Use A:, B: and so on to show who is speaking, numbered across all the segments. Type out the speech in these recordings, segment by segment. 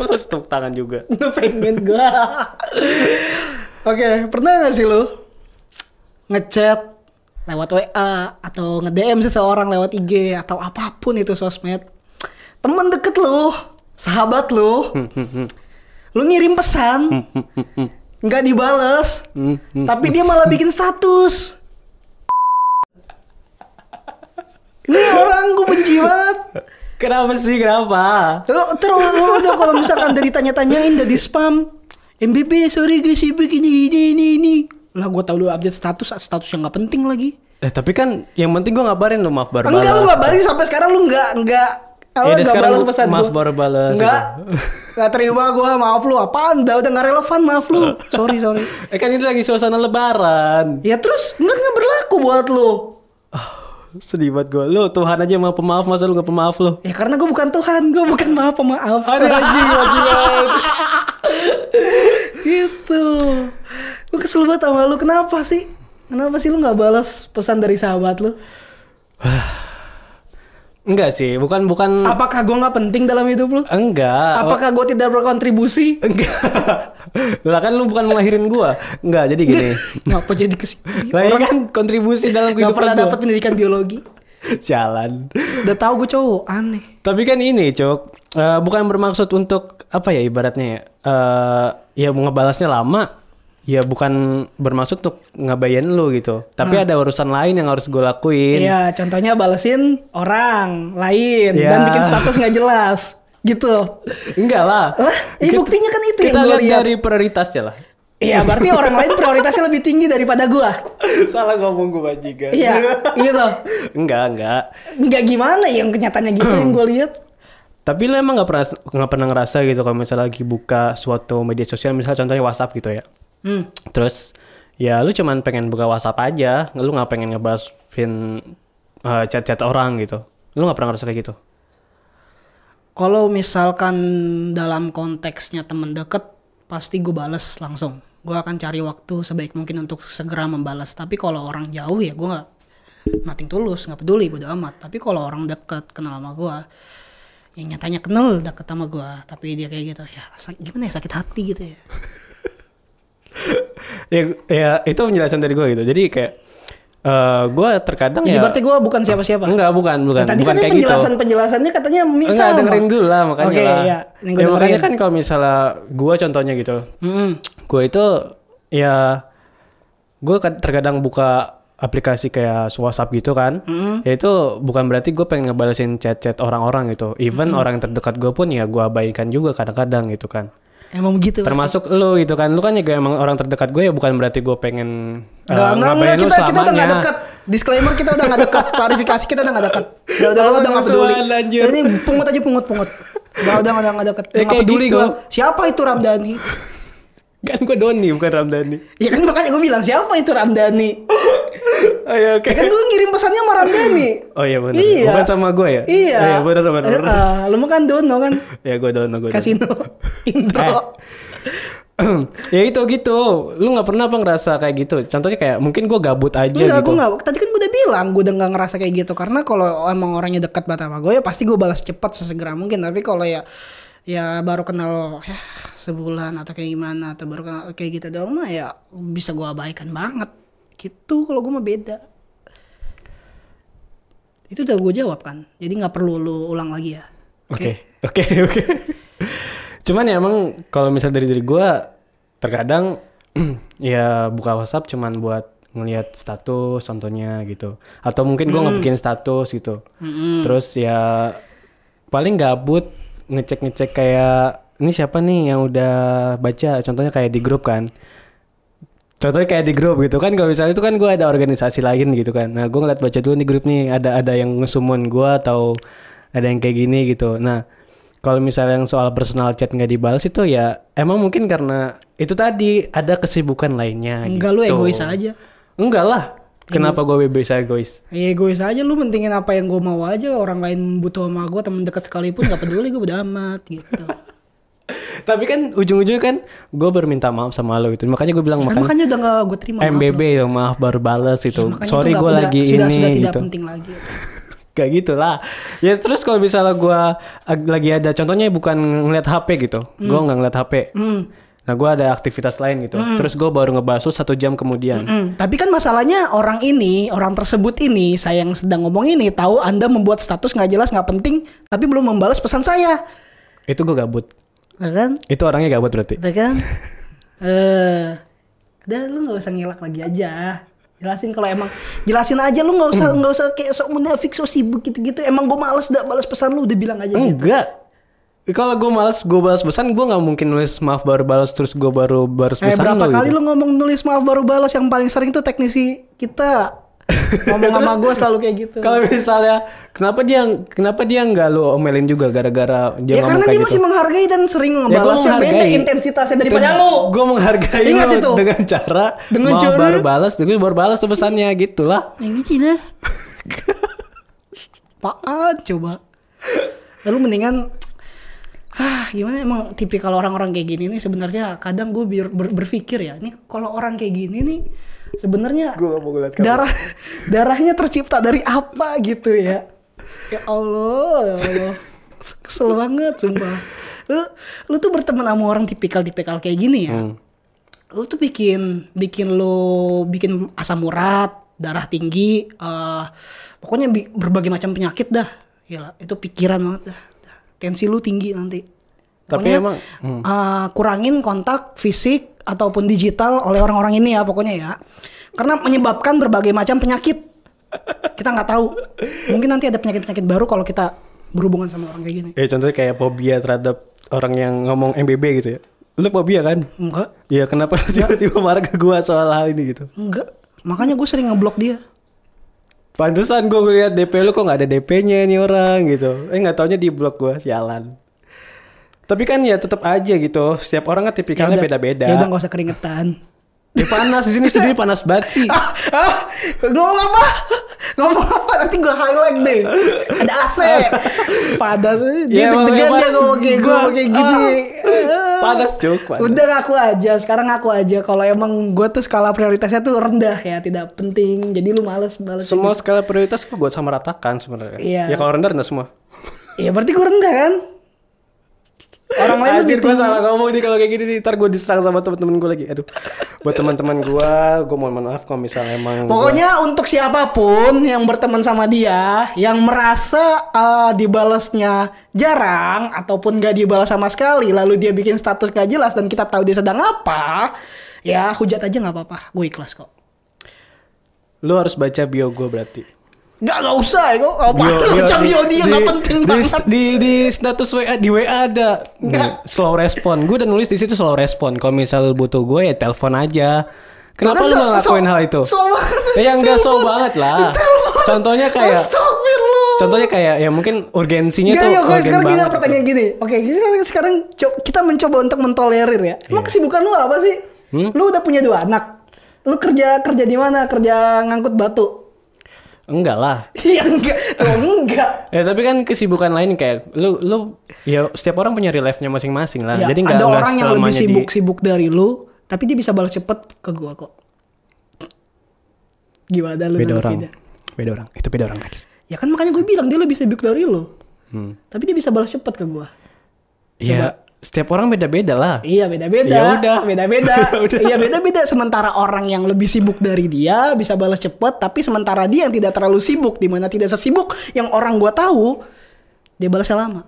A: Lu harus tepuk tangan juga.
B: Nggak pengen gua. Oke, pernah gak sih lu ngechat lewat WA atau nge-DM seseorang lewat IG atau apapun itu sosmed? Temen deket lu, sahabat lu,
A: Hmm,
B: lu ngirim pesan, nggak dibales,
A: hmm.
B: tapi dia malah bikin status. Ini orang gue benci banget.
A: Kenapa sih? Kenapa?
B: Lo- Terus lo- lo kalau misalkan dari tanya-tanyain dari spam MBB sorry guys sibuk ini ini ini ini lah gue tau lu update status status yang nggak penting lagi
A: Eh tapi kan yang penting gua ngabarin lu maaf baru
B: enggak
A: balas.
B: lu nggak balas sampai sekarang lu nggak nggak
A: Ya udah, sekarang lu maaf
B: gua.
A: baru balas,
B: Nggak nggak terima gue maaf lu apaan dah udah nggak relevan maaf lu sorry sorry
A: Eh kan ini lagi suasana lebaran.
B: ya terus nggak nggak berlaku buat lu
A: Sedih banget gua. Lu Tuhan aja mah pemaaf masa lu gak pemaaf lu.
B: ya karena gue bukan Tuhan gue bukan maaf pemaaf
A: Ada anjing anjing.
B: gitu gue kesel banget sama lu kenapa sih kenapa sih lu nggak balas pesan dari sahabat lu
A: Enggak sih, bukan bukan
B: apakah gue nggak penting dalam hidup lu
A: enggak.
B: apakah gue tidak berkontribusi
A: Enggak. lah kan lu bukan ngelahirin gua. Enggak, jadi gini.
B: ngapa jadi kesitu
A: lah ya kan kontribusi dalam
B: iya
A: kehidupan
B: nggak pernah
A: gua.
B: dapat pendidikan biologi
A: Jalan.
B: udah tahu gue cowok aneh
A: Tapi kan ini, Cok. eh, bukan bermaksud untuk apa ya ibaratnya ya. eh, ya mau ngebalasnya lama. Ya bukan bermaksud untuk ngabayain lu gitu. Tapi ada urusan lain yang harus gua lakuin.
B: Hmm. iya contohnya balesin orang lain
A: Iya.
B: dan bikin status nggak jelas gitu
A: Enggak lah.
B: lah eh,
A: Kita-
B: buktinya kan itu
A: Kita
B: yang gue
A: lihat
B: lihat
A: dari prioritasnya lah.
B: iya berarti orang lain prioritasnya lebih tinggi daripada gue
A: Salah ngomong gue bajingan.
B: iya gitu
A: enggak, enggak.
B: nggak gimana ya, yang kenyataannya gitu yang gue lihat
A: Tapi lo emang nggak pernah nggak pernah ngerasa gitu kalau misalnya lagi buka suatu media sosial, misalnya contohnya WhatsApp gitu ya.
B: hmm.
A: Terus ya lu cuman pengen buka WhatsApp aja, lu nggak pengen ngebalasin eh, chat-chat orang gitu. Lu nggak pernah ngerasa kayak gitu.
B: Kalau misalkan dalam konteksnya temen deket, pasti gue bales langsung. Gue akan cari waktu sebaik mungkin untuk segera membalas. Tapi kalau orang jauh ya gue nggak nothing tulus, nggak peduli, bodo amat. Tapi kalau orang deket kenal sama gue, yang nyatanya kenal deket sama gue, tapi dia kayak gitu, ya sak- gimana ya sakit hati gitu ya.
A: ya, ya itu penjelasan dari gue gitu. Jadi kayak eh gue terkadang
B: Jadi
A: ya.
B: berarti gue bukan siapa-siapa.
A: Enggak, bukan, bukan,
B: Ya, tadi
A: bukan
B: kan
A: kayak gitu.
B: penjelasan penjelasannya katanya misal.
A: Enggak dengerin dulu lah makanya
B: Oke,
A: lah.
B: iya. Ini gua
A: Ya, makanya
B: dengerin.
A: kan kalau misalnya gue contohnya gitu,
B: Mm-mm.
A: gue itu ya gue terkadang buka aplikasi kayak WhatsApp gitu kan, ya itu bukan berarti gue pengen ngebalesin chat-chat orang-orang gitu. Even orang terdekat gue pun ya gue abaikan juga kadang-kadang gitu kan.
B: Emang begitu.
A: Termasuk lo gitu kan, lu kan juga emang orang terdekat gue ya bukan berarti gue pengen eh,
B: Enggak, enggak, enggak,
A: ngabain lu
B: kita, kita udah
A: selamanya.
B: gak dekat. Disclaimer kita udah gak dekat. Klarifikasi kita udah gak dekat. Udah, udah, udah, udah gak peduli.
A: Musuhan, lanjut.
B: Ini pungut aja, pungut, pungut. Udah, udah, udah gak deket.
A: Ya,
B: Udah gak
A: kayak
B: peduli
A: gitu.
B: gua. Siapa itu Ramdhani?
A: Kan gue Doni bukan Ramdhani.
B: Ya kan makanya gue bilang, siapa itu Ramdhani?
A: Ayo oke.
B: Ya kan gue ngirim pesannya sama Ramdhani.
A: Oh iya benar.
B: Iya.
A: Bukan sama gue ya?
B: Iya.
A: Iya benar benar.
B: Eh, eh, lu mah kan dono kan?
A: Ya gue Dono gue.
B: Kasino.
A: Eh,
B: Indro.
A: ya itu gitu lu nggak pernah apa ngerasa kayak gitu contohnya kayak mungkin gua gabut aja
B: Enggak,
A: gitu
B: gue gak, tadi kan gue udah bilang gue udah gak ngerasa kayak gitu karena kalau emang orangnya dekat banget sama gue ya pasti gue balas cepat sesegera mungkin tapi kalau ya ya baru kenal ya, sebulan atau kayak gimana atau baru kenal kayak gitu doang mah ya bisa gue abaikan banget gitu kalau gue mah beda itu udah gue jawab kan jadi nggak perlu lu ulang lagi ya
A: oke oke oke cuman ya emang kalau misal dari diri gua terkadang ya buka WhatsApp cuman buat ngelihat status contohnya gitu atau mungkin gua nggak bikin status gitu terus ya paling gabut ngecek ngecek kayak ini siapa nih yang udah baca contohnya kayak di grup kan Contohnya kayak di grup gitu kan kalau misalnya itu kan gue ada organisasi lain gitu kan. Nah gue ngeliat baca dulu nih grup nih ada ada yang ngesumun gue atau ada yang kayak gini gitu. Nah kalau misalnya yang soal personal chat nggak dibalas itu ya emang mungkin karena itu tadi ada kesibukan lainnya.
B: enggak lu
A: gitu.
B: egois aja
A: Enggak lah. Kenapa gue egois egois?
B: Ya egois aja lu mentingin apa yang gue mau aja orang lain butuh sama gue temen dekat sekalipun gak peduli gue udah amat gitu
A: Tapi kan ujung-ujungnya kan gue berminta maaf sama lo gitu. Makanya gue bilang makanya
B: Kan makanya udah gak gue terima maaf
A: MBB ya maaf baru balas
B: lu.
A: gitu.
B: Makanya
A: Sorry
B: itu nggak-
A: gue
B: udah-
A: lagi
B: sudah,
A: ini
B: sudah tidak
A: gitu.
B: penting lagi
A: Gak gitu lah. Ya terus kalau misalnya gua ag- lagi ada contohnya bukan ngeliat HP gitu. Gua nggak ngeliat HP.
B: Hmm.
A: Nah gua ada aktivitas lain gitu. Terus gua baru ngebahas tuh satu jam kemudian.
B: Mm, tapi kan masalahnya orang ini, orang tersebut ini, saya yang sedang ngomong ini tahu Anda membuat status nggak jelas, nggak penting, tapi belum membalas pesan saya, Hmm.
A: Itu gua gabut.
B: Ya kan?
A: Itu orangnya gabut berarti.
B: Ya kan? Eh, udah lu nggak usah ngelak lagi aja. Jelasin kalau emang jelasin aja lu nggak
A: Hmm.
B: usah nggak usah kayak sok munafik sok sibuk gitu-gitu. Emang gue males dah balas pesan lu udah bilang
A: Hmm.
B: aja gitu.
A: Enggak. Kalau gua males gua balas pesan gua nggak mungkin nulis maaf baru balas terus gua baru balas
B: Eh,
A: pesan
B: berapa
A: lu
B: kali
A: gitu.
B: lu ngomong nulis maaf baru balas yang paling sering tuh teknisi kita ngomong sama gue selalu kayak gitu.
A: Kalau misalnya kenapa dia kenapa dia nggak lu omelin juga gara-gara dia
B: ya
A: ngomong
B: karena
A: kayak
B: dia
A: gitu. Ya,
B: masih menghargai dan sering ngebalas yang beda intensitasnya daripada lu.
A: Gue menghargai
B: Ingat
A: lu
B: itu.
A: dengan cara
B: Dengan
A: mau
B: cara-
A: baru balas, dengan baru balas tuh pesannya gitu lah.
B: Yang ini Cina. Apaan coba? Lalu mendingan ah gimana emang tipikal orang-orang kayak gini nih sebenarnya kadang gue berpikir ya ini kalau orang kayak gini nih sebenarnya
A: Gua nggak mau ngeliat kamu.
B: darah darahnya tercipta dari apa gitu ya ya Allah ya Allah kesel banget sumpah lu lu tuh berteman sama orang tipikal tipikal kayak gini
A: Hmm.
B: ya lu tuh bikin bikin lo bikin asam urat darah tinggi eh pokoknya bi- berbagai macam penyakit dah Yalah, itu pikiran banget dah dah. tensi lu tinggi nanti
A: Tapi
B: Pokoknya,
A: emang- hmm.
B: eh, kurangin kontak fisik ataupun digital oleh orang-orang ini ya pokoknya ya karena menyebabkan berbagai macam penyakit kita nggak tahu mungkin nanti ada penyakit-penyakit baru kalau kita berhubungan sama orang kayak gini
A: Ya contohnya kayak fobia terhadap orang yang ngomong MBB gitu ya. Lu fobia kan?
B: enggak
A: Iya kenapa lu tiba-tiba marah ke gua soal hal ini gitu.
B: enggak makanya gue sering ngeblok dia
A: Pantesan gua ngeliat DP lu kok nggak ada DP-nya nih orang gitu. Eh nggak taunya di blok gua sialan. Tapi kan ya tetap aja gitu. Setiap orang kan tipikalnya beda-beda.
B: ya udah nggak usah keringetan
A: Ya, panas di sini studionya panas banget sih.
B: ah, ah, ngomong apa? Ngomong apa? Nanti gue highlight deh. Ada AC. Panas eh,
A: Ya,
B: dia
A: makanya
B: deg-degan dia
A: panas.
B: ngomong kayak gue
A: Gua-
B: kayak gini.
A: Ah. Panas, Cuk, panas.
B: Udah ngaku aja. Sekarang ngaku aja. Kalau emang gue tuh skala prioritasnya tuh rendah ya, tidak penting. Jadi lu males balas.
A: Semua skala prioritas kok gue sama ratakan sebenarnya.
B: Iya.
A: Ya kalau rendah rendah semua.
B: Ya berarti gue rendah kan? Orang lain
A: Anjir gue
B: lebih tinggi.
A: salah ngomong nih kalau kayak gini nih. Ntar gue diserang sama teman-teman gue lagi. Aduh. Buat teman-teman gue, gue mohon maaf kalau misalnya emang. gua-
B: Pokoknya untuk siapapun yang berteman sama dia, yang merasa eh, dibalasnya jarang ataupun gak dibalas sama sekali, lalu dia bikin status gak jelas dan kita tahu dia sedang apa, ya hujat aja nggak apa-apa, gue ikhlas kok.
A: lu harus baca bio gue berarti.
B: Gak nggak usah ya kok, apa macam bio dia
A: di-
B: nggak penting
A: di,
B: banget.
A: Di, di status WA di WA ada
B: Nggak.
A: nih, slow respon. Gue udah nulis di situ slow respon. Kalau misal butuh gue ya telepon aja. Kenapa
B: Kan
A: lu
B: so-
A: nggak ngelakuin
B: so-
A: hal itu?
B: so banget.
A: Ya, nggak so
B: Telepon.
A: banget lah.
B: Telepon.
A: Contohnya kayak-
B: Astagfirullah.
A: Contohnya kayak ya mungkin urgensinya
B: Gak,
A: tuh.
B: yuk, gue
A: urgen
B: sekarang kita
A: banget. gitu.
B: pertanyaan gini. Oke, kita sekarang- sekarang co- kita mencoba untuk mentolerir ya. Emang
A: Iya.
B: kesibukan lu apa sih?
A: Hmm?
B: Lu udah punya dua anak. Lu kerja kerja di mana? Kerja ngangkut batu.
A: Enggak lah.
B: Iya enggak, tuh enggak.
A: Ya tapi kan kesibukan lain kayak lu lu ya setiap orang punya real life-nya masing-masing lah. Nah,
B: Ya,
A: Jadi nggak
B: ada
A: nggak
B: orang yang lebih
A: selamanya di-
B: sibuk-sibuk dari lu, tapi dia bisa balas cepet ke gua kok. Gimana dah lu
A: beda orang.
B: nanggepinnya?
A: Beda orang. Itu beda orang guys.
B: Ya kan makanya gue bilang dia lebih sibuk dari lu. Tapi dia bisa balas cepet ke gua.
A: Ya setiap orang beda-beda lah.
B: Iya beda-beda.
A: Ya udah. Ya
B: Beda-beda.
A: Udah.
B: Iya beda-beda. Sementara orang yang lebih sibuk dari dia bisa balas cepet, tapi sementara dia yang tidak terlalu sibuk, dimana tidak sesibuk yang orang gua tahu, dia balasnya lama.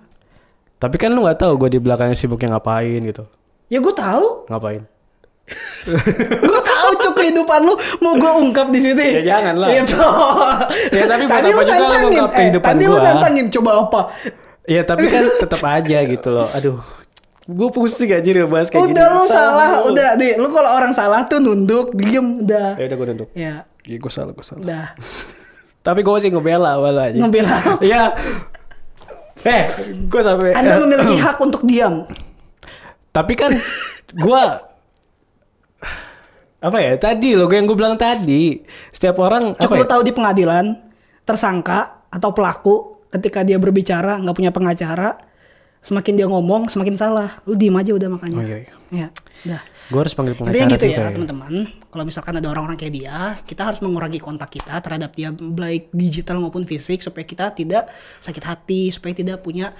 A: Tapi kan lu nggak tahu gue di belakangnya sibuknya ngapain gitu.
B: Ya gue tahu,
A: Ngapain?
B: gue tahu cuk kehidupan lu mau gue ungkap di sini.
A: Ya, jangan lah.
B: Gitu.
A: Ya, tapi buat apa
B: tadi
A: juga lu
B: lu nantangin, Eh,
A: ngungkap kehidupan
B: tadi lu
A: gua.
B: nantangin coba apa?
A: Ya tapi kan tetap aja gitu loh. Aduh. Gue pusing aja ngebahas kayak gini.
B: udah lu salah, udah deh. Lu kalau orang salah tuh nunduk, diem, udah.
A: Ya udah gue nunduk.
B: Ya,
A: Ya gue salah, gue salah.
B: udah.
A: Tapi gue masih ngebela awalnya aja.
B: Ngebela.
A: Iya. Eh, gue sampai eh,
B: Anda memiliki hak untuk diam.
A: Tapi kan gua apa ya tadi loh yang gue bilang tadi setiap orang apa
B: Cukup lu
A: ya?
B: tahu di pengadilan tersangka atau pelaku ketika dia berbicara nggak punya pengacara semakin dia ngomong semakin salah lu diem aja udah makanya
A: Oh iya, iya.
B: ya udah
A: Gue harus panggil pengacara
B: Intinya gitu
A: juga
B: ya teman-teman. Kalau misalkan ada orang-orang kayak dia, kita harus mengurangi kontak kita terhadap dia baik digital maupun fisik supaya kita tidak sakit hati, supaya tidak punya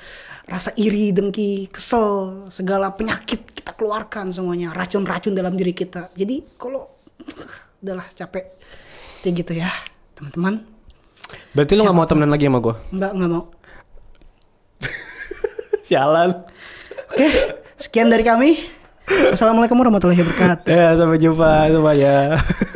B: rasa iri, dengki, kesel, segala penyakit kita keluarkan semuanya, racun-racun dalam diri kita. Jadi kalau udahlah capek. Kayak gitu ya, teman-teman.
A: Berarti lu gak mau temenan lagi sama gue?
B: Enggak, enggak mau.
A: Sialan.
B: Oke, sekian dari kami. Assalamualaikum warahmatullahi wabarakatuh.
A: Ya, sampai jumpa semuanya.